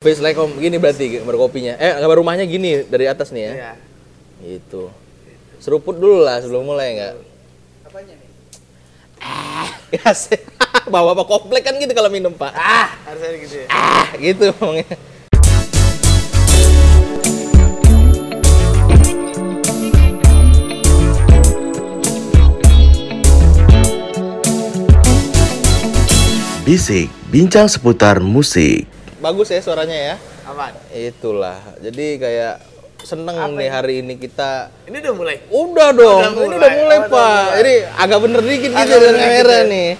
Face like home gini berarti gambar kopinya. Eh gambar rumahnya gini dari atas nih ya. Iya. Gitu. Seruput dulu lah sebelum mulai enggak? Apanya nih? Gas. Iya Bawa apa komplek kan gitu kalau minum, Pak. Ah, Harus ada gitu ya. ah gitu ngomongnya. Bisik, bincang seputar musik. Bagus ya suaranya ya. Apaan? Itulah. Jadi kayak seneng Apa nih ini? hari ini kita Ini udah mulai. Udah dong, Udah ini mulai. udah mulai Oh, udah pak. mulai. Jadi agak bener dikit Agak gitu dengan bener kamera dikit ya. nih.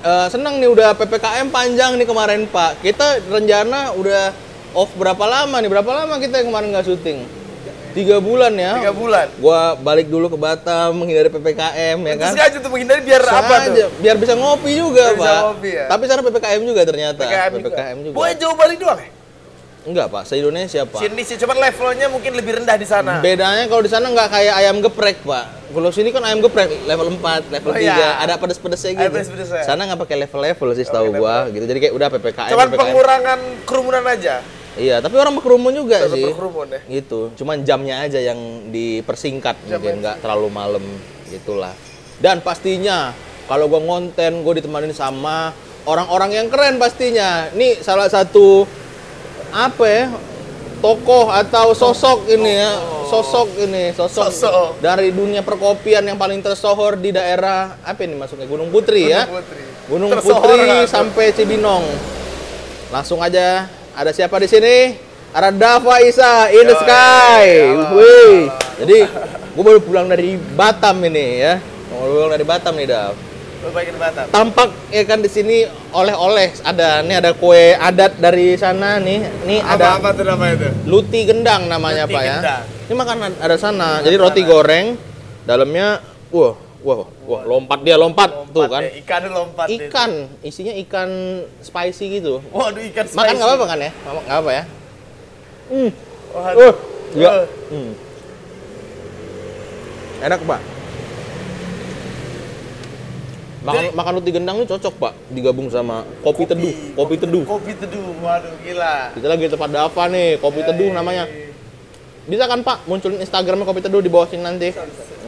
Eh, senang nih udah ppkm panjang nih kemarin pak. Kita rencana udah off berapa lama nih? Berapa lama kita yang kemarin nggak syuting? Tiga bulan ya. Tiga bulan. Gua balik dulu ke Batam menghindari ppkm ya Itu kan. sengaja tuh menghindari biar apa tuh? Sengaja, biar bisa ngopi juga Biar bisa pak. ngopi ya. Tapi sekarang ppkm juga ternyata. juga. Boleh jauh balik doang ya? Enggak pak, se Indonesia pak. Sini sih, cuman levelnya mungkin lebih rendah di sana. Bedanya kalau di sana nggak kayak ayam geprek, Pak. Kalau sini kan ayam geprek level 4, level Oh, 3, iya. ada pedes-pedesnya gitu. Ada pedes-pedesnya. Sana nggak pakai level-level sih setahu gua gitu. Jadi kayak udah PPKM, cuman PPKM. pengurangan kerumunan aja. Iya, tapi orang berkerumun juga Tetap sih. berkerumun ya. Gitu. Cuman jamnya aja yang dipersingkat mungkin yang nggak terlalu malam gitulah. Dan pastinya kalau gua ngonten, gua ditemanin sama orang-orang yang keren pastinya. Ini salah satu apa ya? tokoh atau sosok ini ya sosok ini sosok, Sosok. dari dunia perkopian yang paling tersohor di daerah apa ini maksudnya Gunung Putri ya Putri. Gunung Tersohor kan Putri lah. sampai Cibinong. Langsung aja. Ada siapa di sini? Ada Dava Isa in the Yoi, sky. halo, Wih. halo. Jadi gue baru pulang dari Batam ini ya. Baru pulang dari Batam nih Dav. Lu bagian Batam. Tampak ya kan di sini oleh-oleh ada nih ada kue adat dari sana nih. Nih ada Apa-apa tuh namanya tuh? luti gendang namanya Luti Pak ya. gendang. Ini makanan ada sana. Jadi roti goreng dalamnya wah wah wah lompat dia lompat, tuh Lompat ya, kan. deh, Ikan lompat deh. Ikan, isinya ikan spicy gitu. Waduh ikan spicy. Makan nggak apa-apa kan ya? Makan nggak apa ya? Hmm. Waduh. Uh, Iya. iya. Hmm. Enak pak. Makan Jadi- makan roti gendang ini cocok pak, digabung sama kopi, teduh, kopi teduh. Kopi teduh. Waduh gila. Iya. Kita lagi di tempat Dava nih, kopi teduh namanya. Bisa kan pak, munculin Instagramnya kopi teduh di bawah sini nanti.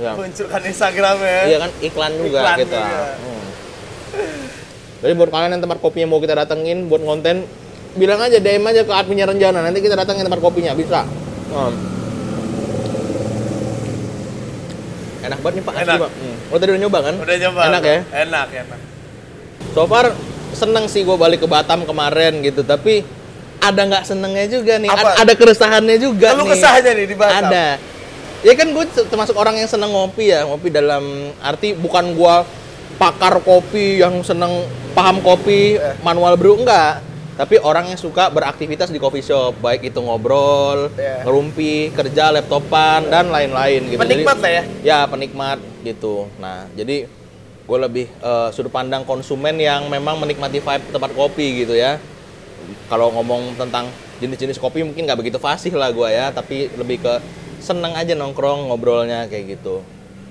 Iya. Munculkan Instagram ya. Iya kan iklan juga Iklan kita. juga. Hmm. Jadi buat kalian yang tempat kopinya mau kita datengin buat konten, bilang aja DM aja ke adminnya Renjana, nanti kita datengin tempat kopinya bisa. Hmm. Enak banget nih Pak. asli, Enak. Pak. Hmm. Oh tadi udah nyoba kan? Udah coba. Enak ya. Enak, enak. So far seneng sih gue balik ke Batam kemarin gitu, tapi ada nggak senengnya juga nih, Apa? ada, ada keresahannya juga Lu nih. kesah aja nih di Batam. Ada. Ya kan gue termasuk orang yang seneng ngopi ya, ngopi dalam arti bukan gua pakar kopi yang seneng paham kopi Eh. manual brew enggak, tapi orang yang suka beraktivitas di coffee shop, baik itu ngobrol, Iya. ngerumpi, kerja laptopan dan lain-lain gitu. Jadi- Penikmat lah ya. Ya penikmat gitu. Nah jadi gue lebih eh, sudut pandang konsumen yang memang menikmati vibe tempat kopi gitu ya. Kalau ngomong tentang jenis-jenis kopi mungkin nggak begitu fasih lah gue ya, tapi lebih ke seneng aja nongkrong ngobrolnya kayak gitu.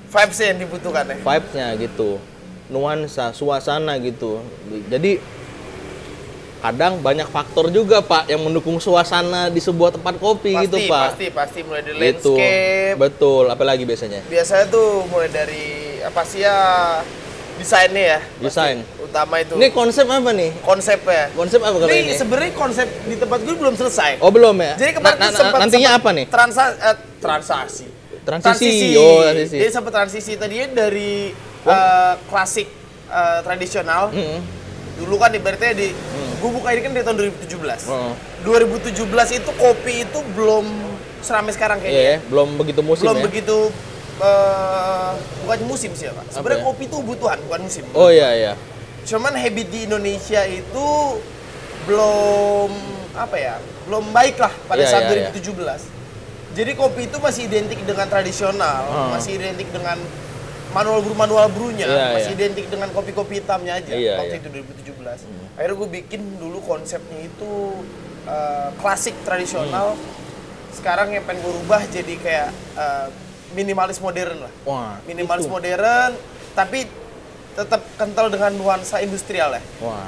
Vibes yang dibutuhkan ya. Vibes-nya gitu, nuansa, suasana gitu. Jadi kadang banyak faktor juga pak yang mendukung suasana di sebuah tempat kopi pasti, gitu pak. Pasti, pasti mulai dari Gitu. landscape. Betul, apalagi biasanya? Biasanya tuh mulai dari apa sih ya desainnya ya. Pasti Desain. Utama itu. Ini konsep apa nih? konsepnya. Konsep apa kalau ini? Ini sebenarnya konsep di tempat gue belum selesai. Oh belum ya? Jadi kemarin Na- tuh na- sempat nantinya sempat apa nih? transa- eh, transaksi. Transisi. Oh, transisi. Jadi sempat transisi tadinya dari eh, klasik eh, tradisional. Mm-mm. Dulu kan ibaratnya di Hmm. gue buka ini kan dari tahun 2017. Oh. 2017 itu kopi itu belum seramai sekarang Iya, kayaknya. ya, belum begitu musim belum ya. begitu eh, bukan musim sih ya pak. Sebenarnya Apa ya? kopi itu kebutuhan bukan musim. Oh iya iya. Cuman habit di Indonesia itu belum apa ya belum baik lah pada Iya, saat iya, iya. 2017. Jadi kopi itu masih identik dengan tradisional, Hmm. masih identik dengan manual brew manual brewnya, Iya, masih iya. identik dengan kopi-kopi hitamnya aja Iya, waktu iya. Hmm. itu 2017. Akhirnya gue bikin dulu konsepnya itu eh, klasik tradisional. Hmm. Sekarang yang pengen gue rubah jadi kayak eh, minimalis modern lah Wah, minimalis itu. modern tapi tetap kental dengan nuansa industrial ya Wah.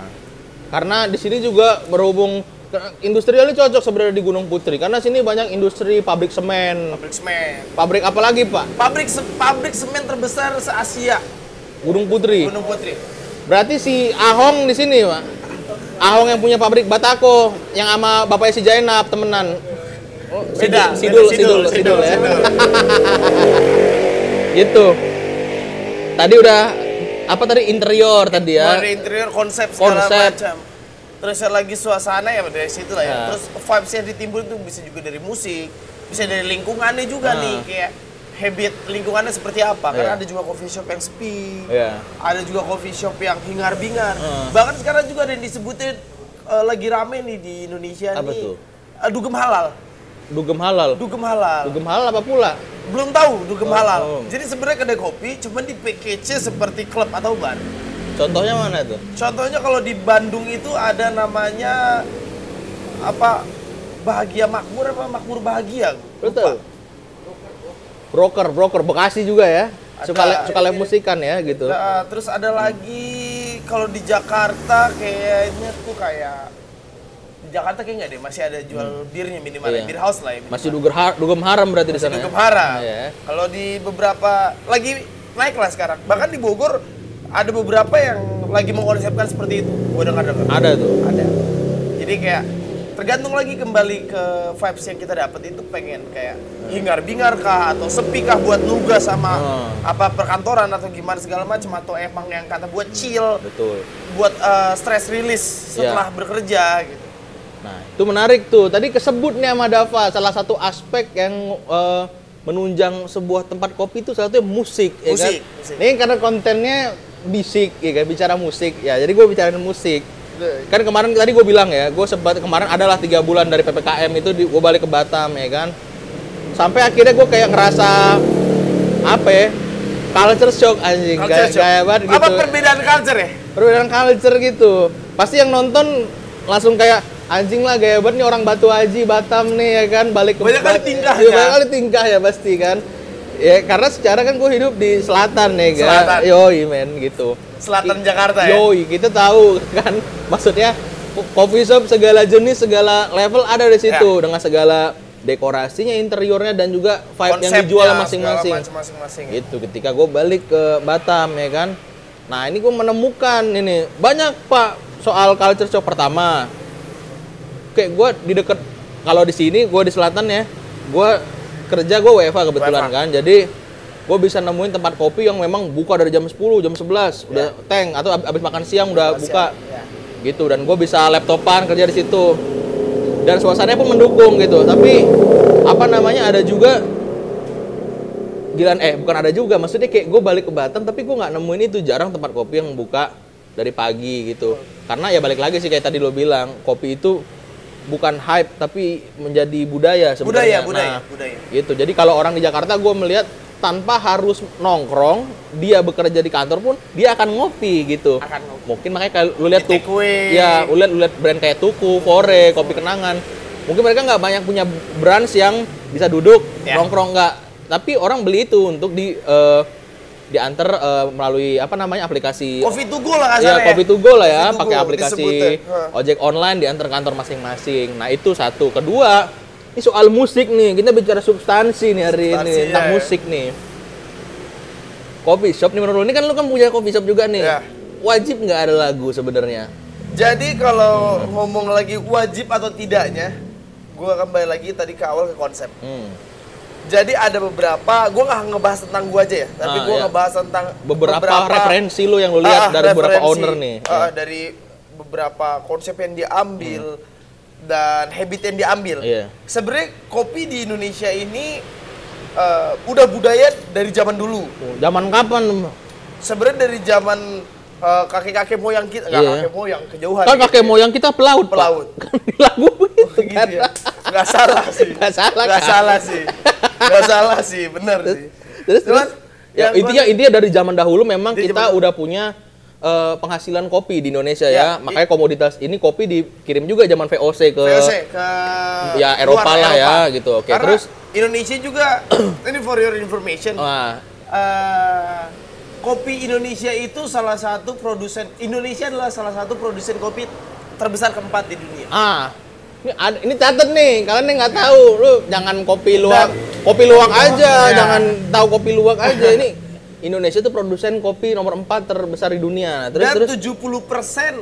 Karena di sini juga berhubung Karena Industrialnya cocok sebenarnya di Gunung Putri karena sini banyak industri pabrik semen. Pabrik semen. Pabrik apa lagi, Pak? Pabrik se- pabrik semen terbesar se Asia. Gunung Putri. Gunung Putri. Berarti si Ahong di sini, Pak. Ahong yang punya pabrik Batako yang sama bapaknya si Jainab temenan. Oh, si- Beda, Sidul, Sidul, beda, Sidul, Sidul, ya. Sidul, gitu. Tadi udah apa tadi interior tadi ya. Mulai dari interior konsep segala Konsep. macam. Terus yang lagi suasana ya dari situ lah ya. Nah. Terus vibes yang ditimbul itu bisa juga dari musik, bisa dari lingkungannya juga Nah. nih kayak habit lingkungannya seperti apa. Karena Iya. ada juga coffee shop yang sepi. Iya. Ada juga coffee shop yang hingar-bingar. Heeh. Bahkan sekarang juga ada yang disebutin eh, lagi rame nih di Indonesia Apa nih. tuh? eh, dugem halal. Dugem halal. Dugem halal. Dugem halal apa pula? Belum tahu dugem Oh, halal. oh. Jadi sebenarnya kedai kopi cuman di package seperti klub atau bar. Contohnya mana tuh? Contohnya kalau di Bandung itu ada namanya apa bahagia makmur apa makmur bahagia? Lu Lupa. tahu? Broker, broker Bekasi juga ya. Suka Ada. le- suka live musikan ya gitu. Nah, terus ada lagi kalau di Jakarta kayaknya tuh kayak di Jakarta kayak nggak deh masih ada jual birnya minimal ya, Iya. beer house lah ya. Masih dugem har- dugem haram berarti di sana. ya? Dugem Hara. Iya. Kalau di beberapa lagi naik lah sekarang. Bahkan di Bogor ada beberapa yang lagi mengkonsepkan seperti itu. Gue dengar-dengar. Ada tuh. ada jadi kayak tergantung lagi kembali ke vibes yang kita dapat itu pengen kayak hingar bingar kah atau sepi kah buat nugas sama Hmm. apa perkantoran atau gimana segala macam atau emang yang kata buat chill Betul. buat eh, stress release Ya. setelah bekerja gitu Nah, itu menarik tuh. Tadi kesebut nih sama Dava, salah satu aspek yang eh, menunjang sebuah tempat kopi itu salah satunya musik, ya kan? Musik, musik. Ini karena kontennya bisik, ya kan? Bicara musik, ya. Jadi gue bicarain musik. Kan kemarin tadi gue bilang ya, gue sempat kemarin adalah tiga bulan dari ppkm itu gue balik ke Batam, ya kan? Sampai akhirnya gue kayak ngerasa apa ya? Culture shock anjing, Culture kayak shock. kayak banget gitu apa perbedaan culture ya perbedaan culture gitu pasti yang nonton langsung kayak anjing lah gaya banget nih orang Batu Aji Batam nih ya kan balik ke Banyak kali Bat- tingkahnya. Iya, banyak kali tingkah ya pasti kan ya karena secara kan gue hidup di selatan ya kan Selatan. yoi men gitu selatan I- Jakarta ya yoi kita tahu kan maksudnya co- coffee shop segala jenis segala level ada di situ Ya. dengan segala dekorasinya interiornya dan juga vibe yang Konsepnya, dijual segala masing-masing macam masing-masing itu Gitu, ketika gue balik ke Batam ya kan nah ini gue menemukan ini banyak pak soal culture shock pertama kayak gue di deket kalau di sini gue di selatan ya gue kerja gue WFA kebetulan WFH. kan jadi gue bisa nemuin tempat kopi yang memang buka dari jam 10, jam 11 udah tank atau ab- abis Iya. makan siang udah buka Ya. gitu dan gue bisa laptopan kerja di situ dan suasananya pun mendukung gitu tapi apa namanya ada juga gilan eh bukan ada juga maksudnya kayak gue balik ke Batam tapi gue nggak nemuin itu jarang tempat kopi yang buka dari pagi gitu karena ya balik lagi sih kayak tadi lo bilang kopi itu bukan hype tapi menjadi budaya budaya sebenarnya budaya Nah, budaya gitu jadi kalau orang di Jakarta gue melihat tanpa harus nongkrong dia bekerja di kantor pun dia akan ngopi gitu akan ngopi. mungkin makanya kalau lu lihat Di take tuku away. ya lu lihat lu lihat brand kayak tuku fore kopi kenangan mungkin mereka nggak banyak punya brands yang bisa duduk Ya. nongkrong nggak tapi orang beli itu untuk di eh, diantar eh, melalui apa namanya aplikasi Coffee to go ya lah kasarnya kopi to go lah ya Coffee to pakai go aplikasi disebutnya. Heeh. ojek online diantar kantor masing-masing nah itu satu kedua ini soal musik nih kita bicara substansi nih hari Substansi, ini tentang ya. musik nih kopi shop nih menurut lu ini kan lu kan punya kopi shop juga nih Ya. wajib nggak ada lagu sebenarnya Jadi kalau ngomong lagi wajib atau tidaknya, gue kembali lagi tadi ke awal ke konsep. Hmm. Jadi ada beberapa, gue nggak ngebahas tentang gue aja ya, tapi Ah, gue iya. ngebahas tentang beberapa, referensi lu yang lu lihat Ah, dari beberapa referensi. owner nih Iya. Ah, dari beberapa konsep yang diambil dan habit yang diambil. Hmm. Iya. Sebenarnya kopi di Indonesia ini eh, udah budaya dari zaman dulu. zaman kapan Sebenarnya dari zaman eh, kakek-kakek moyang kita, nggak Iya. kakek moyang kejauhan. gitu ya, kan kakek moyang kita pelaut Pak. Pelaut. kan di lagu itu gitu kan. ya. Nggak salah sih. Nggak salah, Nggak kan? salah sih. Nggak salah sih, bener sih. terus Cuman, terus ya yang intinya gua- intinya dari zaman dahulu memang Dari kita zaman- udah punya eh, penghasilan kopi di Indonesia ya, Ya, makanya komoditas ini kopi dikirim juga zaman VOC ke VOC ke Ya, luar Eropa lah ya, gitu. Oke, Karena terus? Indonesia juga ini for your information. Nah, eh, kopi Indonesia itu salah satu produsen Indonesia adalah salah satu produsen kopi terbesar keempat di dunia. ah Ini, ada- ini catet nih, kalian nih nggak tahu. Lu jangan kopi luwak, kopi luwak aja, Ya. jangan tahu kopi luwak aja. Ini Indonesia tuh produsen kopi nomor 4 terbesar di dunia. Terus Dan terus 70 persen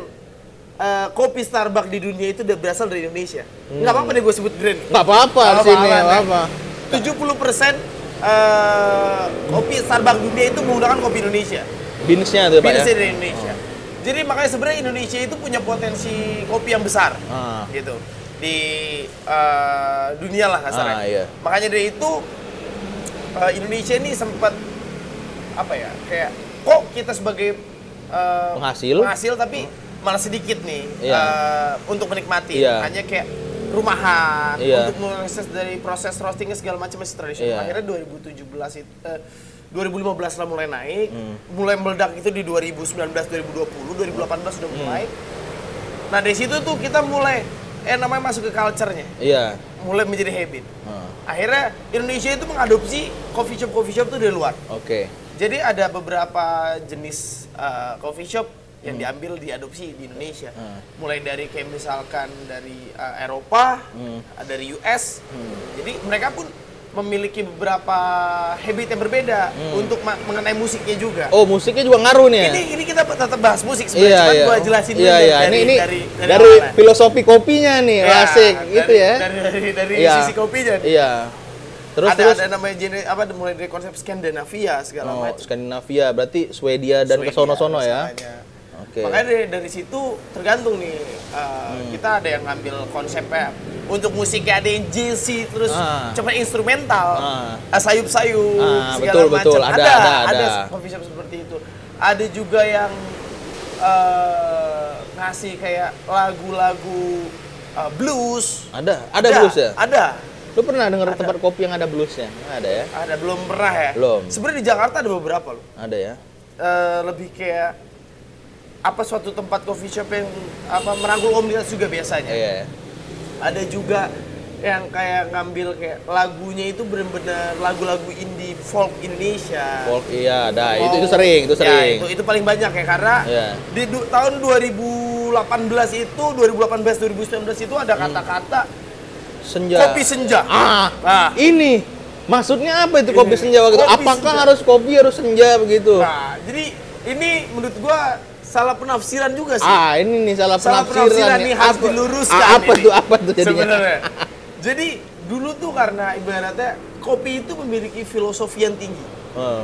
eh, kopi Starbucks di dunia itu udah berasal dari Indonesia. Nggak apa-apa deh gue sebut brand. nggak apa-apa Nggak di sini, apa-apa, nggak apa-apa. 70 eh, persen eh, kopi Starbucks dunia itu menggunakan kopi Indonesia. Beansnya tuh pak ya. Beansnya dari Indonesia. Jadi makanya sebenarnya Indonesia itu punya potensi kopi yang besar, Ah. gitu di eh, dunia lah kasarnya. Ah, iya. Makanya dari itu eh, Indonesia ini sempat apa ya kayak kok kita sebagai eh, Penghasil? Hmm. penghasil tapi malah sedikit nih Iya. eh, untuk menikmati. Iya. Hanya kayak rumahan Iya. untuk mengakses dari proses roastingnya segala macam masih Iya. tradisional. Akhirnya 2017 itu eh, 2015 lah mulai naik, mulai meledak itu di 2019, 2020, 2018 sudah mulai. Nah dari situ tuh kita mulai eh namanya masuk ke culture-nya, Iya. mulai menjadi habit. Ah, Akhirnya Indonesia itu mengadopsi coffee shop coffee shop tuh dari luar. Oke. Jadi ada beberapa jenis eh, coffee shop yang Hmm. diambil diadopsi di Indonesia. Mulai dari kayak misalkan dari eh, Eropa, Hmm. eh, dari US. Jadi mereka pun memiliki beberapa habit yang berbeda untuk ma- mengenai musiknya juga. Hmm. Oh musiknya juga ngaruh nih. ya? Ini ini kita tetap bahas musik sebenarnya, Iya cuman iya. gua jelasin dulu Iya deh iya. dari, Ini ini dari dari, awalnya. filosofi kopinya nih, Ya, klasik dari- gitu ya. Dari dari, dari Iya. sisi kopinya. Iya. Terus ada terus. ada namanya genre apa mulai dari konsep Skandinavia segala Oh, macam. Skandinavia berarti Swedia dan Swedia, kesono-sono ya. misalnya. Oke. Hmm. Makanya dari, dari situ tergantung nih eh, kita ada yang ngambil konsepnya untuk musiknya ada yang JC terus Ah. cuma instrumental Ah. eh, sayup-sayup Ah, segala betul, macam betul. Ada, ada, ada. coffee shop seperti itu ada juga yang eh, ngasih kayak lagu-lagu eh, blues Ada, ada blues ya? ada Lu pernah denger tempat kopi yang ada bluesnya? Nggak ada ya? ada belum pernah ya Belum. sebenarnya di Jakarta ada beberapa loh Ada ya? eh, lebih kayak apa suatu tempat coffee shop yang apa merangkul komunitas juga biasanya. Iya. ya. Ada juga yang kayak ngambil kayak lagunya itu bener-bener lagu-lagu indie folk Indonesia. Folk iya ada. Mau- Itu itu sering, itu Ya, sering. itu, itu paling banyak ya karena Iya. di du- tahun 2018 itu 2018 2019 itu ada kata-kata Senja. kopi senja. Hmm. Iya. Ah, Nah. ini maksudnya apa itu kopi Ini. senja waktu itu? Kopi Apakah senja. harus kopi harus senja begitu? Nah, jadi ini menurut gua salah penafsiran juga sih. Ah, ini nih salah, salah penafsiran nih harus Apa- diluruskan. ah, apa ini. tuh apa tuh jadinya? Sebenarnya. Jadi dulu tuh karena ibaratnya kopi itu memiliki filosofi yang tinggi. Oh,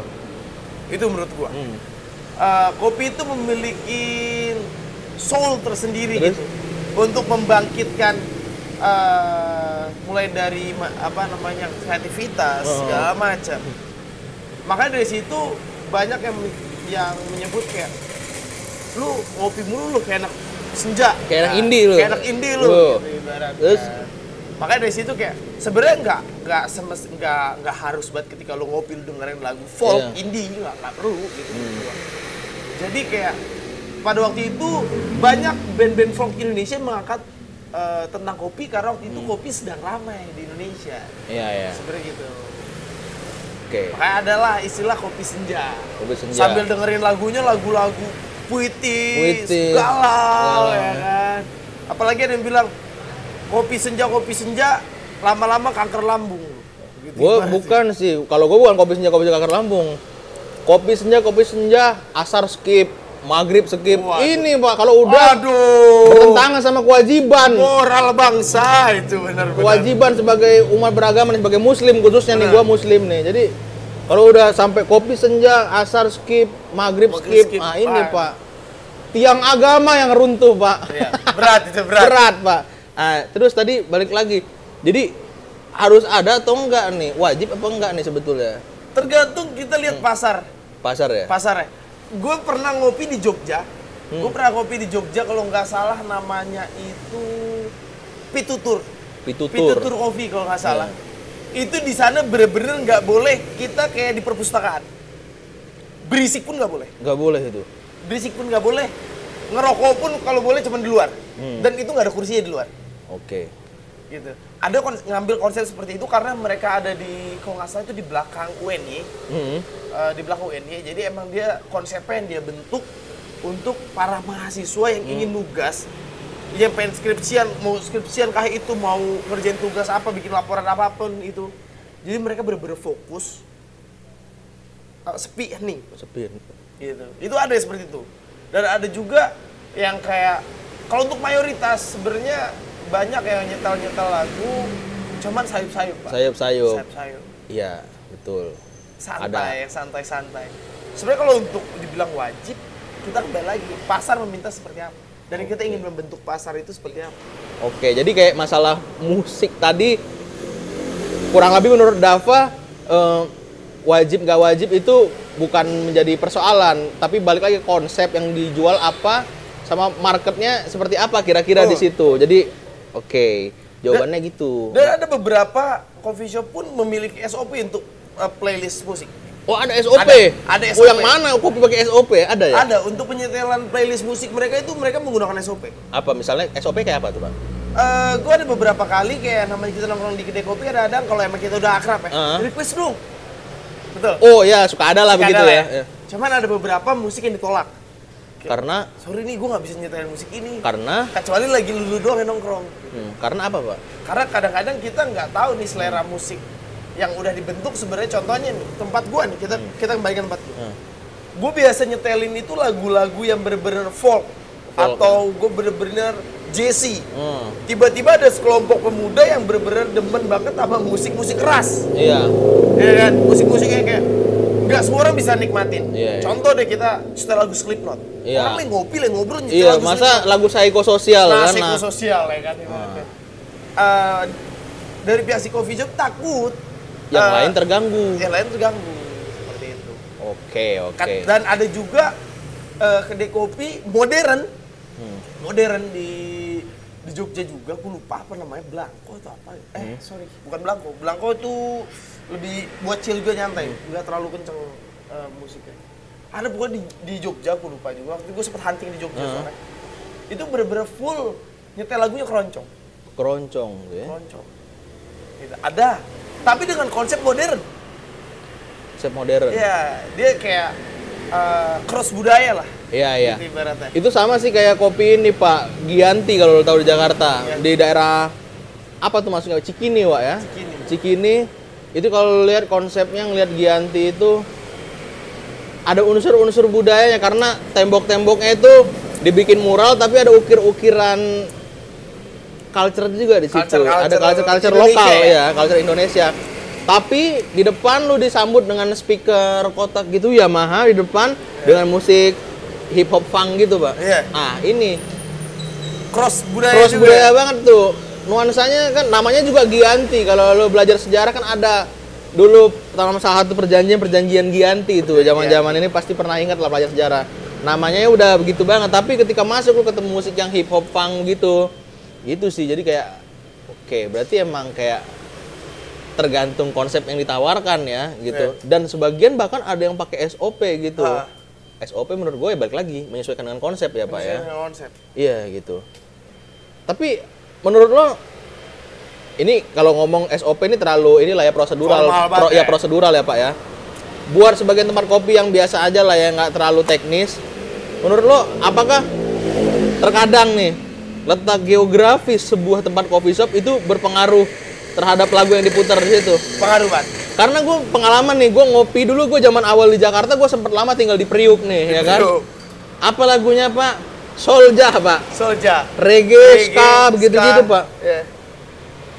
Itu menurut gua. hmm. Eh, kopi itu memiliki soul tersendiri Terus? gitu. Untuk membangkitkan eh, mulai dari ma- apa namanya kreativitas Oh. segala macam. Makanya dari situ banyak yang yang menyebut kayak lu ngopi mulu lu kayak anak senja Nah, Kayak anak indie lu. kayak anak indie lu, Lu. gitu ibaratnya. Terus? makanya dari situ kayak sebenarnya nggak nggak semes nggak nggak harus banget ketika lu ngopi lu dengerin lagu folk Iya. Hmm. indie nggak nggak perlu gitu jadi kayak pada waktu itu banyak band-band folk Indonesia mengangkat eh, tentang kopi karena waktu itu kopi sedang ramai di Indonesia Hmm. Iya, iya. sebenarnya gitu Oke. makanya adalah istilah kopi senja Kopi senja. sambil dengerin lagunya lagu-lagu puitis, Puitis, galau galau. ya kan apalagi ada yang bilang kopi senja kopi senja lama-lama kanker lambung gitu Gue gimana sih? bukan sih. Kalau gue bukan kopi senja, kopi senja kanker lambung. Kopi senja, kopi senja, asar skip, maghrib skip. Waduh. Ini pak, kalau udah aduh bertentangan sama kewajiban. moral bangsa itu benar-benar kewajiban sebagai umat beragama nih, sebagai muslim khususnya nih Benar. gua muslim nih jadi kalau udah sampai kopi senja asar skip maghrib Maghrib skip, skip, nah ini Pak. pak tiang agama yang runtuh pak Iya, berat itu berat, berat pak Ah, terus tadi balik lagi jadi harus ada atau enggak nih wajib apa enggak nih sebetulnya tergantung kita lihat pasar pasar ya pasarnya gue pernah ngopi di Jogja gue pernah ngopi di Jogja kalau nggak salah namanya itu pitutur pitutur Pitutur Coffee kalau nggak salah. Itu di sana bener-bener nggak boleh kita kayak di perpustakaan. Berisik pun nggak boleh. nggak boleh itu Berisik pun nggak boleh. Ngerokok pun kalau boleh cuma di luar. Dan itu nggak ada kursinya di luar. oke Gitu. Ada kon- ngambil konsep seperti itu karena mereka ada di kalau nggak salah itu di belakang UNY, Hmm. eh, di belakang UNY. Jadi emang dia konsepnya yang dia bentuk untuk para mahasiswa yang ingin nugas yang pengen skripsian mau skripsian kah itu mau ngerjain tugas apa bikin laporan apapun itu jadi mereka bener-bener fokus uh, sepi hening sepi gitu itu ada yang seperti itu dan ada juga yang kayak kalau untuk mayoritas sebenarnya banyak yang nyetel nyetel lagu cuman sayup sayup pak sayup-sayup sayup sayup iya betul santai santai santai sebenarnya kalau untuk dibilang wajib kita kembali lagi pasar meminta seperti apa dan kita ingin membentuk pasar itu seperti apa Oke, jadi kayak masalah musik tadi kurang lebih menurut Dava eh, wajib nggak wajib itu bukan menjadi persoalan, tapi balik lagi ke konsep yang dijual apa sama marketnya seperti apa kira-kira di Betul. situ. Jadi oke, jawabannya gitu. dan ada beberapa coffee shop pun memiliki SOP untuk uh, playlist musik Oh ada SOP. Ada- ada Oh SOP. yang mana? Kopi pakai SOP ada ya? ada untuk penyetelan playlist musik mereka itu mereka menggunakan SOP Apa misalnya SOP kayak apa tuh bang? Eh, gue ada beberapa kali kayak namanya kita nongkrong di kedai kopi ada kadang kalau emang kita udah akrab ya Heeh. request dong betul Oh ya suka ada lah Kadang begitu lah ya. ya. Ya. cuman ada beberapa musik yang ditolak Karena sorry nih gue nggak bisa nyetelin musik ini karena kecuali lagi lulu doang yang nongkrong hmm, karena apa pak? karena kadang-kadang kita nggak tahu nih selera musik yang udah dibentuk sebenarnya contohnya nih tempat gua nih kita kita kembalikan tempat gua Hmm. Gua biasa nyetelin itu lagu-lagu yang bener-bener folk, ya. atau gue bener-bener jazzy Hmm, tiba-tiba ada sekelompok pemuda yang bener-bener demen banget sama musik-musik keras Iya. ya kan musik-musik yang kayak nggak semua orang bisa nikmatin Iya, iya. contoh deh kita setel lagu Slipknot Iya. orang lagi ngopi lagi ngobrol nyetel Iya, lagu masa Slipknot. lagu psikososial nah, kan? psikososial ya Ah. kan ibaratnya. Eh, dari pihak psikofisik takut yang eh, lain terganggu. yang lain terganggu seperti itu Oke, oke. Kat- Kan Dan ada juga eh, kedai kopi modern, Hmm. modern di di Jogja juga. Gue lupa apa namanya Blangko atau apa. Hmm. Eh sorry, bukan Blangko. Blangko itu lebih buat chill juga nyantai, Hmm. nggak terlalu kenceng eh, musiknya. Ada pokoknya di, di Jogja, gue lupa juga. Waktu gue sempet hunting di Hmm. Jogja soalnya. Itu bener-bener full nyetel lagunya keroncong, Keroncong gitu ya. keroncong. Gitu. Ada, tapi dengan konsep modern. Konsep modern. Iya, Iya, dia kayak eh, cross budaya lah. iya. Gitu ibaratnya. Itu sama sih kayak kopi ini, Pak. Gianti kalau lo tahu di Jakarta. Gianti. Di daerah apa tuh maksudnya? Cikini, Wak ya. Cikini. Cikini itu kalau lo lihat konsepnya ngelihat Gianti itu ada unsur-unsur budayanya karena tembok-temboknya itu dibikin mural tapi ada ukir-ukiran culture juga di situ. Culture-culture ada culture-culture Indonesia lokal ya. ya, culture Indonesia. Tapi di depan lu disambut dengan speaker kotak gitu Yamaha di depan dengan musik hip hop funk gitu, Pak. Iya. Ah, ini Cross budaya cross juga. budaya banget tuh. Nuansanya kan namanya juga Gianti. Kalau lu belajar sejarah kan ada dulu pertama salah satu perjanjian perjanjian Gianti itu. Iya. Zaman-zaman ini pasti pernah ingat lah belajar sejarah. Namanya ya udah begitu banget, tapi ketika masuk lu ketemu musik yang hip hop funk gitu. Gitu sih. Jadi kayak oke, berarti emang kayak tergantung konsep yang ditawarkan ya gitu. Dan sebagian bahkan ada yang pakai SOP gitu. Iya. Ah. SOP menurut gue ya balik lagi menyesuaikan dengan konsep ya, Pak ya. Misalnya konsep. Iya gitu. Tapi menurut lo ini kalau ngomong SOP ini terlalu inilah ya prosedural. Formal banget ya ya. prosedural ya, Pak ya. Buat sebagian tempat kopi yang biasa aja lah ya nggak terlalu teknis. Menurut lo apakah terkadang nih letak geografis sebuah tempat kopi shop itu berpengaruh terhadap lagu yang diputar di situ? Pengaruh banget. Karena gue pengalaman nih, gue ngopi dulu gue zaman awal di Jakarta gue sempet lama tinggal di Priuk nih, ya kan? Priuk. Apa lagunya Pak? Soljah Pak Solja. reggae, ska, begitu-gitu Eh, pak. gitu. Iya.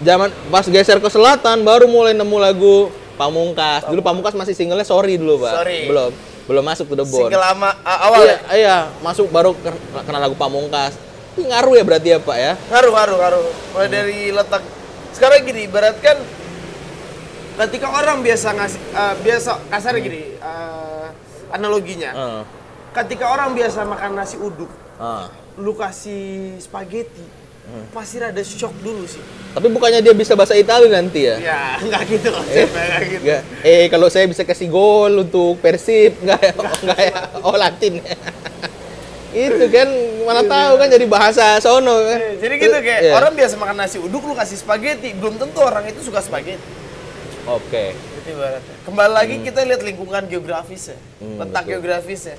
Zaman pas geser ke selatan baru mulai nemu lagu Pamungkas. Dulu Pamungkas masih singlenya Sorry dulu pak. Sorry. Belum belum masuk ke Debon. Single lama a- awal Iya, ya. iya masuk baru ke- kena lagu Pamungkas. Ini ngaruh ya berarti ya pak ya. Ngaruh, ngaruh, ngaruh. Hmm. Mulai dari letak. Sekarang gini, ibaratkan ketika orang biasa ngasih eh, biasa kasar Hmm. gini eh, analoginya. Heeh. Ketika orang biasa makan nasi uduk, Ah. lu kasih spaghetti, Hmm. pasti ada shock dulu sih. Tapi bukannya dia bisa bahasa Italia nanti ya? Ya, nggak gitu konsepnya, nggak gitu. Nggak. Eh kalau saya bisa kasih gol untuk Persib nggak ya? Oh, nggak ya? Oh Latin. itu kan mana tahu kan jadi bahasa sono kan. Iya, Jadi gitu kayak Iya. orang biasa makan nasi uduk lu kasih spaghetti, belum tentu orang itu suka spaghetti. Oke. Gitu ibaratnya. Kembali lagi kita lihat lingkungan geografisnya, Hmm, ya. letak ya. betul. geografisnya.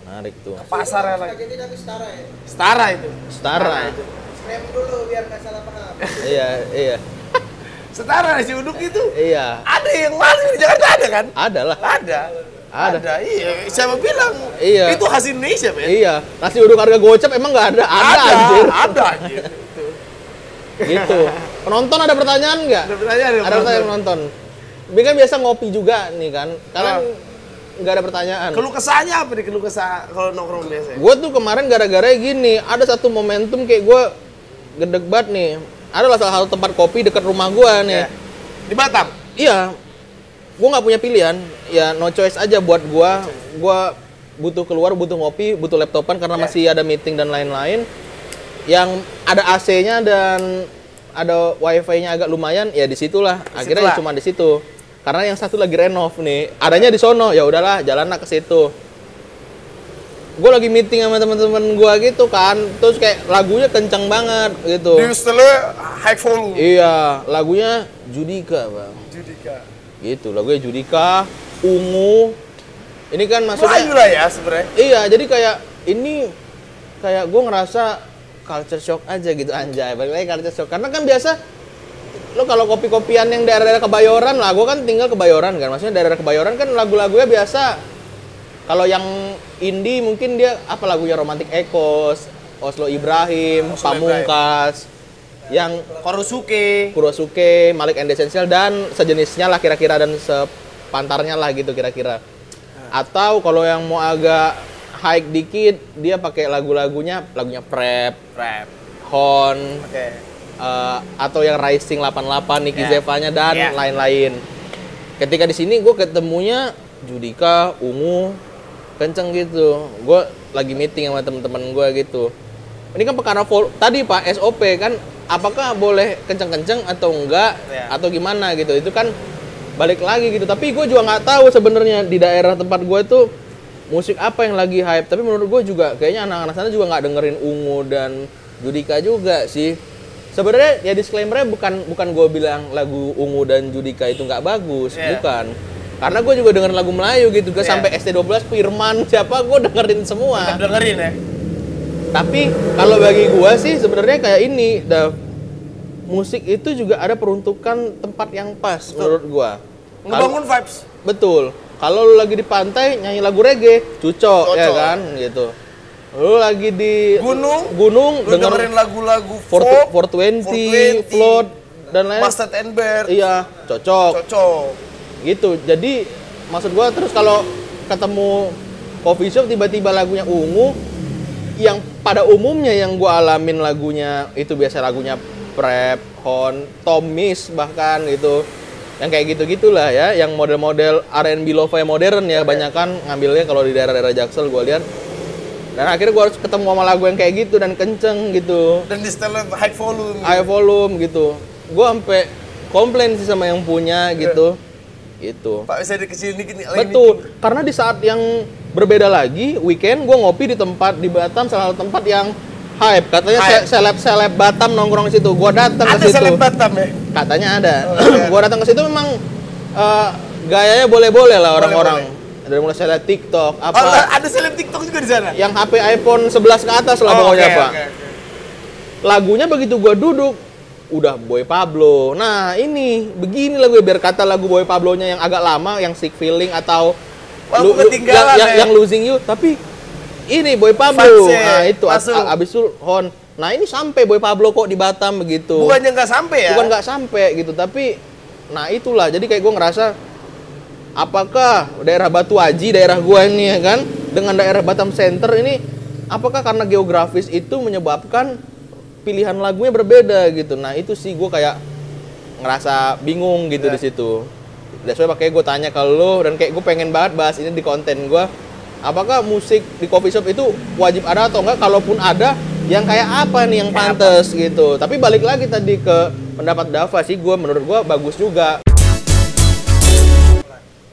menarik tuh Pasarnya lagi. Spaghetti tapi setara ya. Setara itu. setara itu. Scram dulu biar nggak salah paham. iya iya Setara nasi uduk itu. iya Ada yang langsung di Jakarta ada kan? ada lah Ada. Ada. Iya, siapa bilang? Iya. Itu khas Indonesia, Ben. iya nasi uduk harga gocap emang nggak ada ada, ada, anjir. ada anjir. Gitu. gitu penonton ada pertanyaan nggak Ada pertanyaan ada pertanyaan penonton Ini kan biasa ngopi juga nih kan kalian Ah. nggak ada pertanyaan Keluh kesahnya apa nih keluh kesah kalau nongkrong biasanya? gue tuh kemarin gara-gara gini ada satu momentum kayak gue gedeg banget nih ada lah salah satu tempat kopi dekat rumah gue nih Iya. Di Batam. iya gue nggak punya pilihan ya no choice aja buat gue gue butuh keluar butuh ngopi butuh laptopan karena Iya. masih ada meeting dan lain-lain yang ada AC-nya dan ada wifi-nya agak lumayan ya disitulah akhirnya ya Disitulah. cuma di situ karena yang satu lagi renov nih adanya di sono ya udahlah jalan lah ke situ gue lagi meeting sama teman-teman gue gitu kan terus kayak lagunya kenceng banget gitu Di hostelnya high volume. iya lagunya Judika bang Judika. gitu lagunya Judika ungu ini kan maksudnya Melayu lah ya sebenarnya. iya jadi kayak ini kayak gue ngerasa culture shock aja gitu anjay balik lagi culture shock karena kan biasa lo kalau kopi-kopian yang daerah-daerah kebayoran lah gue kan tinggal kebayoran kan maksudnya daerah kebayoran kan lagu-lagunya biasa kalau yang indie mungkin dia apa lagunya romantic echoes Oslo Ibrahim Oslo Ibrahim. Pamungkas yang Korosuke. Kurosuke, Malik and the Essential dan sejenisnya lah kira-kira dan sepantarnya lah gitu kira-kira. Ah. Atau kalau yang mau agak high dikit, dia pakai lagu-lagunya, lagunya Prep, Rap. Hon, Oke. eh, atau yang Rising 88 Niki Ya. Zevanya dan Ya. lain-lain. Ketika di sini gue ketemunya Judika, Ungu, kenceng gitu. Gue lagi meeting sama temen-temen gue gitu. Ini kan perkara vol- tadi Pak SOP kan apakah boleh kenceng-kenceng atau enggak Ya. atau gimana gitu. Itu kan balik lagi gitu. Tapi gue juga nggak tahu sebenarnya di daerah tempat gue tuh musik apa yang lagi hype. Tapi menurut gue juga kayaknya anak-anak sana juga nggak dengerin Ungu dan Judika juga sih. Sebenarnya ya disclaimer bukan bukan gue bilang lagu Ungu dan Judika itu nggak bagus, Ya. bukan. Karena gue juga denger lagu Melayu gitu, gue Ya. sampai ST12, Firman, siapa gue dengerin semua Tetap dengerin ya. tapi kalau bagi gua sih sebenarnya kayak ini dah musik itu juga ada peruntukan tempat yang pas menurut gua Kalau- Ngebangun vibes. betul kalau lu lagi di pantai nyanyi lagu reggae cucok, ya Cocok. kan gitu lu lagi di Gunung, gunung Lu denger dengerin lagu-lagu folk, 420 float dan lain Mustard and Bear. iya cocok Cocok. gitu jadi maksud gua terus kalau ketemu coffee shop tiba-tiba lagunya ungu yang pada umumnya yang gua alamin lagunya itu biasa lagunya prep hon tomis bahkan gitu yang kayak gitu gitulah ya yang model-model R&B lo-fi modern ya banyak kan ngambilnya kalau di daerah-daerah Jaksel gua lihat dan akhirnya gua harus ketemu sama lagu yang kayak gitu dan kenceng gitu Dan di setelah high volume. high volume gitu gua sampai komplain sih sama yang punya gitu gitu Pak bisa dikecilin dikit nih. lagi Betul, karena di saat yang berbeda lagi, weekend gue ngopi di tempat di Batam, salah satu tempat yang hype. Katanya Hype. se- seleb-seleb Batam nongkrong di situ. Gue datang nih. ke Ada situ. seleb Batam ya. Katanya ada. Oh, iya. gue datang ke situ memang eh, gayanya boleh-boleh lah orang-orang. Dari mulai seleb TikTok, Oh, apa ada seleb TikTok juga di sana. yang HP iPhone 11 ke atas lah Oh, pokoknya, oke, Pak. oke, oke. Lagunya begitu gue duduk, udah Boy Pablo. Nah ini begini lagu biar kata lagu Boy Pablo-nya yang agak lama, yang sick feeling atau Wah, aku yang, ketinggalan, yang, ya. yang losing you. Tapi ini Boy Pablo. Fase, Nah itu a- masuk. a- abis itu Hon. Nah ini sampai Boy Pablo kok di Batam begitu. Bukannya nggak sampai ya? Bukan nggak sampai gitu, tapi nah itulah. Jadi kayak gue ngerasa apakah daerah Batu Aji, daerah gua ini ya kan, dengan daerah Batam Center ini, apakah karena geografis itu menyebabkan pilihan lagunya berbeda gitu. Nah itu sih gue kayak ngerasa bingung gitu Ya. di situ. That's why makanya gue tanya ke lo dan kayak gue pengen banget bahas ini di konten gua Apakah musik di coffee shop itu wajib ada atau enggak? Kalaupun ada, yang kayak apa nih yang Kayak apa? pantas gitu. Tapi balik lagi tadi ke pendapat Dava sih, gue menurut gue bagus juga.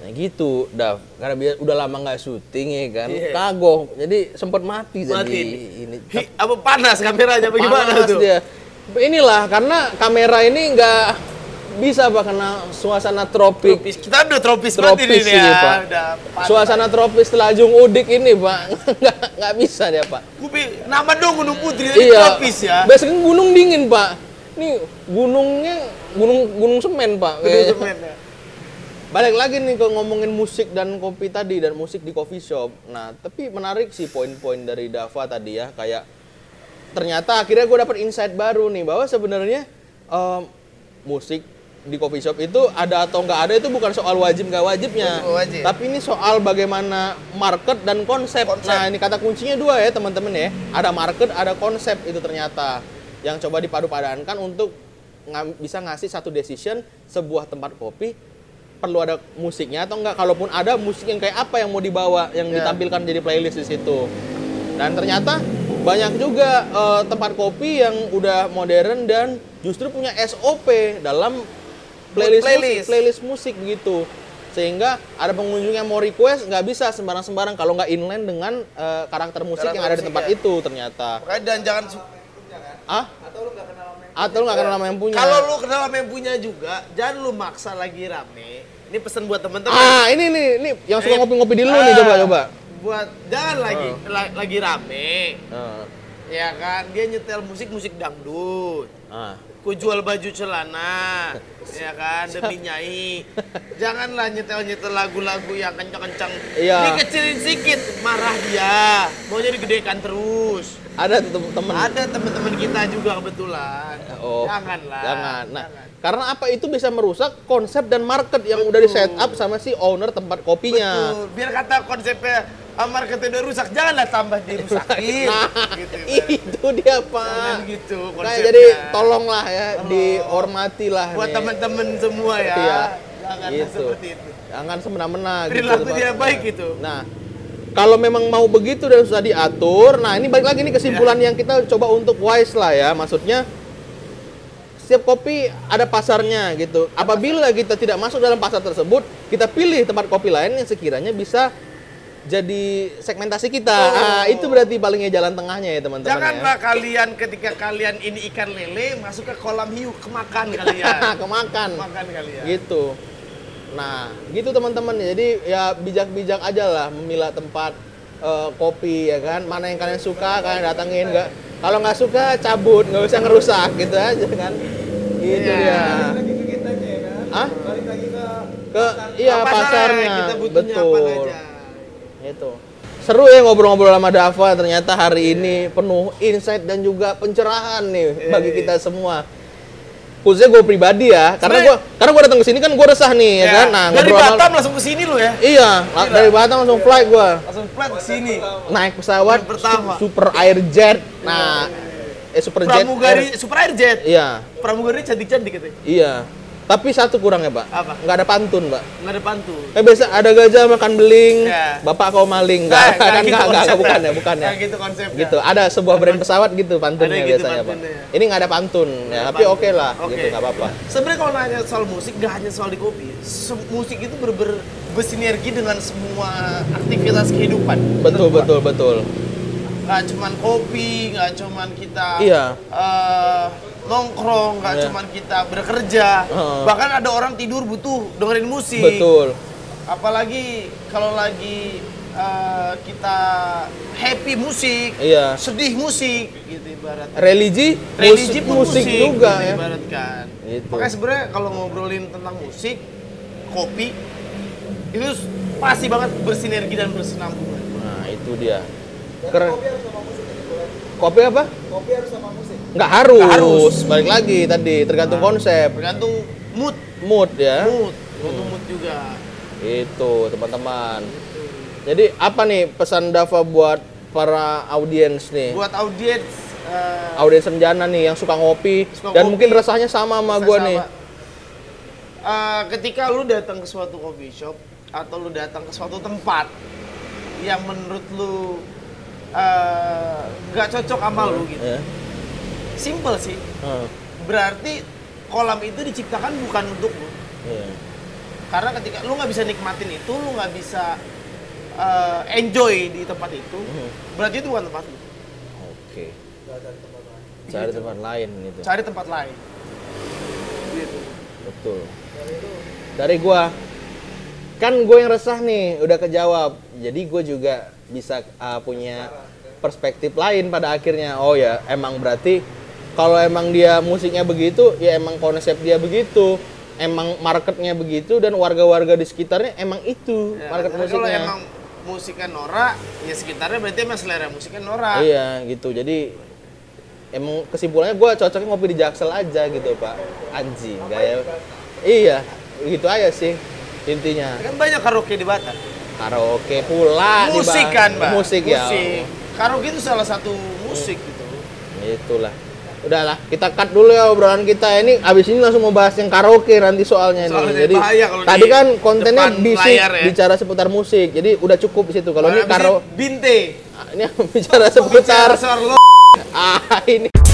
Nah gitu, Dav. Karena biar udah lama nggak syuting ya kan, Iya. kagok. Jadi sempat mati, Mati. jadi ini. Hi, apa Oh, panas kameranya bagaimana Panas tuh? dia. Inilah karena kamera ini nggak bisa pak kena suasana tropik. Tropis. Kita udah tropis, banget Tropis ini, nih ini, ya. Pak. Udah pantai. Suasana tropis telajung udik ini pak, nggak nggak bisa dia pak. Kupi, nama dong Gunung Putri, tapi Iya. tropis ya. Biasanya kan gunung dingin pak. Ini gunungnya gunung gunung semen pak. Gunung kayaknya. Semen ya. Balik lagi nih ke ngomongin musik dan kopi tadi dan musik di coffee shop. Nah, tapi menarik sih poin-poin dari Dava tadi ya, kayak ternyata akhirnya gue dapet insight baru nih bahwa sebenarnya em, musik di coffee shop itu ada atau nggak ada itu bukan soal wajib nggak wajibnya, Bukan wajib. tapi ini soal bagaimana market dan konsep. Konsep. Nah, ini kata kuncinya dua ya teman-teman ya. Ada market, ada konsep itu ternyata yang coba dipadu-padankan untuk ngam- bisa ngasih satu decision sebuah tempat kopi perlu ada musiknya atau enggak kalaupun ada musik yang kayak apa yang mau dibawa yang Ya. ditampilkan jadi playlist di situ dan ternyata banyak juga eh, tempat kopi yang udah modern dan justru punya SOP dalam playlist Playlist. playlist, playlist musik gitu sehingga ada pengunjung yang mau request nggak bisa sembarang-sembarang kalau nggak inline dengan eh, karakter musik Karakter yang ada di musik, tempat ya. itu ternyata Makanya dan jangan su- ah atau lu nggak kenal sama yang punya kalau lu kenal sama yang punya juga, jangan lu maksa lagi rame. Ini pesan buat temen-temen. ah ini nih ini yang suka Eh, ngopi-ngopi di lu nih ah, coba coba Buat jangan lagi la- lagi rame. Ah, Ya kan, dia nyetel musik-musik dangdut. ah. Ku jual baju celana, ya kan, demi nyai. Janganlah nyetel-nyetel lagu-lagu yang kencang-kencang. Iya. Dikecilin sedikit, marah dia. Maunya digedekan terus. ada tuh tem- temen Ada teman-teman kita juga kebetulan. Oh, Janganlah. Jangan. Nah, karena apa itu bisa merusak konsep dan market yang udah di set up sama si owner tempat kopinya. Betul. Biar kata konsepnya ah, marketnya udah rusak, janganlah tambah dirusakin. Nah, gitu. ibarat. itu dia, Jangan Pak. gitu Nah, konsepnya. jadi tolonglah ya, dihormatilah buat nih. teman-teman semua ya. Iya. Jangan Gitu. seperti itu. Jangan semena-mena Perilaku Pak. dia baik gitu. Nah, kalau memang mau begitu dan susah diatur, nah ini balik lagi nih kesimpulan Ya. yang kita coba untuk wise lah ya, maksudnya setiap kopi ada pasarnya gitu. Apabila kita tidak masuk dalam pasar tersebut, kita pilih tempat kopi lain yang sekiranya bisa jadi segmentasi kita. Oh. Ah, itu berarti palingnya jalan tengahnya ya teman-teman. ya. Janganlah kalian ketika kalian ini ikan lele masuk ke kolam hiu kemakan kalian. kemakan. kemakan kalian. Iya. gitu nah gitu teman-teman jadi ya bijak-bijak aja lah memilah tempat eh, kopi ya kan mana yang kalian suka kalian datengin nggak kalau nggak suka cabut nggak usah ngerusak gitu aja kan gitu ya Iya. Lagi ke kita aja ya kan. ah Balik lagi ke ke iya Pasarnya, pasarnya kita butuhnya apa betul aja. itu seru ya ngobrol-ngobrol sama Dava ternyata Iya. hari ini penuh insight dan juga pencerahan nih bagi iya, kita semua khususnya gue pribadi ya karena gue Sebenarnya- karena gue datang ke sini kan gue resah nih ya, Ya, kan nah dari ngobrol sama- Batam langsung ke sini lo ya. iya la- dari Batam langsung flight gue Langsung flat ke sini. naik pesawat Yang pertama. Iya, su- super air jet nah eh super jet Pramugari air- Super Air Jet. iya Pramugari cantik-cantik gitu, katanya. iya tapi satu kurang ya pak Apa? nggak ada pantun pak Enggak ada pantun. Eh biasa ada gajah makan beling, Ya. bapak kau maling, nggak, Nah, kan gitu nggak, nggak, konsepnya. bukan ya, bukan ya. Nah, gitu konsepnya. gitu ada sebuah brand pesawat gitu pantunnya Ada gitu biasanya pantunnya, pak ini nggak ada pantun ya tapi pantun. oke lah Oke. gitu nggak apa-apa Sebenarnya kalau nanya soal musik, nggak hanya soal di kopi. Se- musik itu berber bersinergi dengan semua aktivitas kehidupan. betul betul betul nggak cuman kopi, nggak cuman kita Iya. eh, nongkrong, nggak Iya. cuman kita bekerja. Heeh. Bahkan ada orang tidur butuh dengerin musik. betul Apalagi kalau lagi eh, kita happy musik, Iya. sedih musik, gitu ibarat. religi Religi musik, pun musik juga gitu ya Ibaratkan. Gitu. Makanya sebenarnya kalau ngobrolin tentang musik, kopi itu pasti banget bersinergi dan bersinambungan. nah itu dia keren kopi harus sama musik gitu kan. kopi apa Kopi harus sama musik. nggak harus. Nggak harus. Nah. balik lagi tadi tergantung konsep Bergantung mood, mood ya mood, bergantung mood juga. itu teman-teman jadi apa nih pesan Dava buat para audiens nih Buat audiens eh, audiens senjana nih yang suka ngopi Suka dan ngopi. mungkin rasanya sama sama Saya gue sama. nih Eh, ketika lu datang ke suatu coffee shop atau lu datang ke suatu tempat yang menurut lu eh, nggak cocok sama lu gitu. Ya. Simple sih. Hmm. Berarti kolam itu diciptakan bukan untuk lu. Iya. Karena ketika lu nggak bisa nikmatin itu, lu nggak bisa eh, enjoy di tempat itu, Hmm. berarti itu bukan tempat lu. Oke. Cari tempat lain gitu. Cari tempat lain. Gitu. Betul. Dari gua kan gue yang resah nih udah kejawab. Jadi gue juga bisa uh, punya perspektif lain pada akhirnya. Oh ya, emang berarti kalau emang dia musiknya begitu, ya emang konsep dia begitu. Emang marketnya begitu dan warga-warga di sekitarnya emang itu Ya, market karena kalau musiknya. emang musiknya Nora, ya sekitarnya berarti emang selera musiknya Nora. Iya gitu. Jadi emang kesimpulannya gue cocoknya ngopi di Jaksel aja gitu pak. Anjing gaya. Iya gitu aja sih intinya. Kan banyak karaoke di Batam. Karaoke pula nih, musik Bang. kan, Mbak. Ah, Musik, ya. Musik. Karaoke itu salah satu musik gitu. Itulah. Udahlah, kita cut dulu ya obrolan kita ini. Abis ini langsung mau bahas yang karaoke nanti soalnya, Soalnya nih. Jadi bahaya kalau tadi di kan kontennya depan bisik, layar ya. bicara seputar musik. Jadi udah cukup di situ. Kalau ini Habis karo Binte. ini bicara seputar Bicara soal lo. ah ini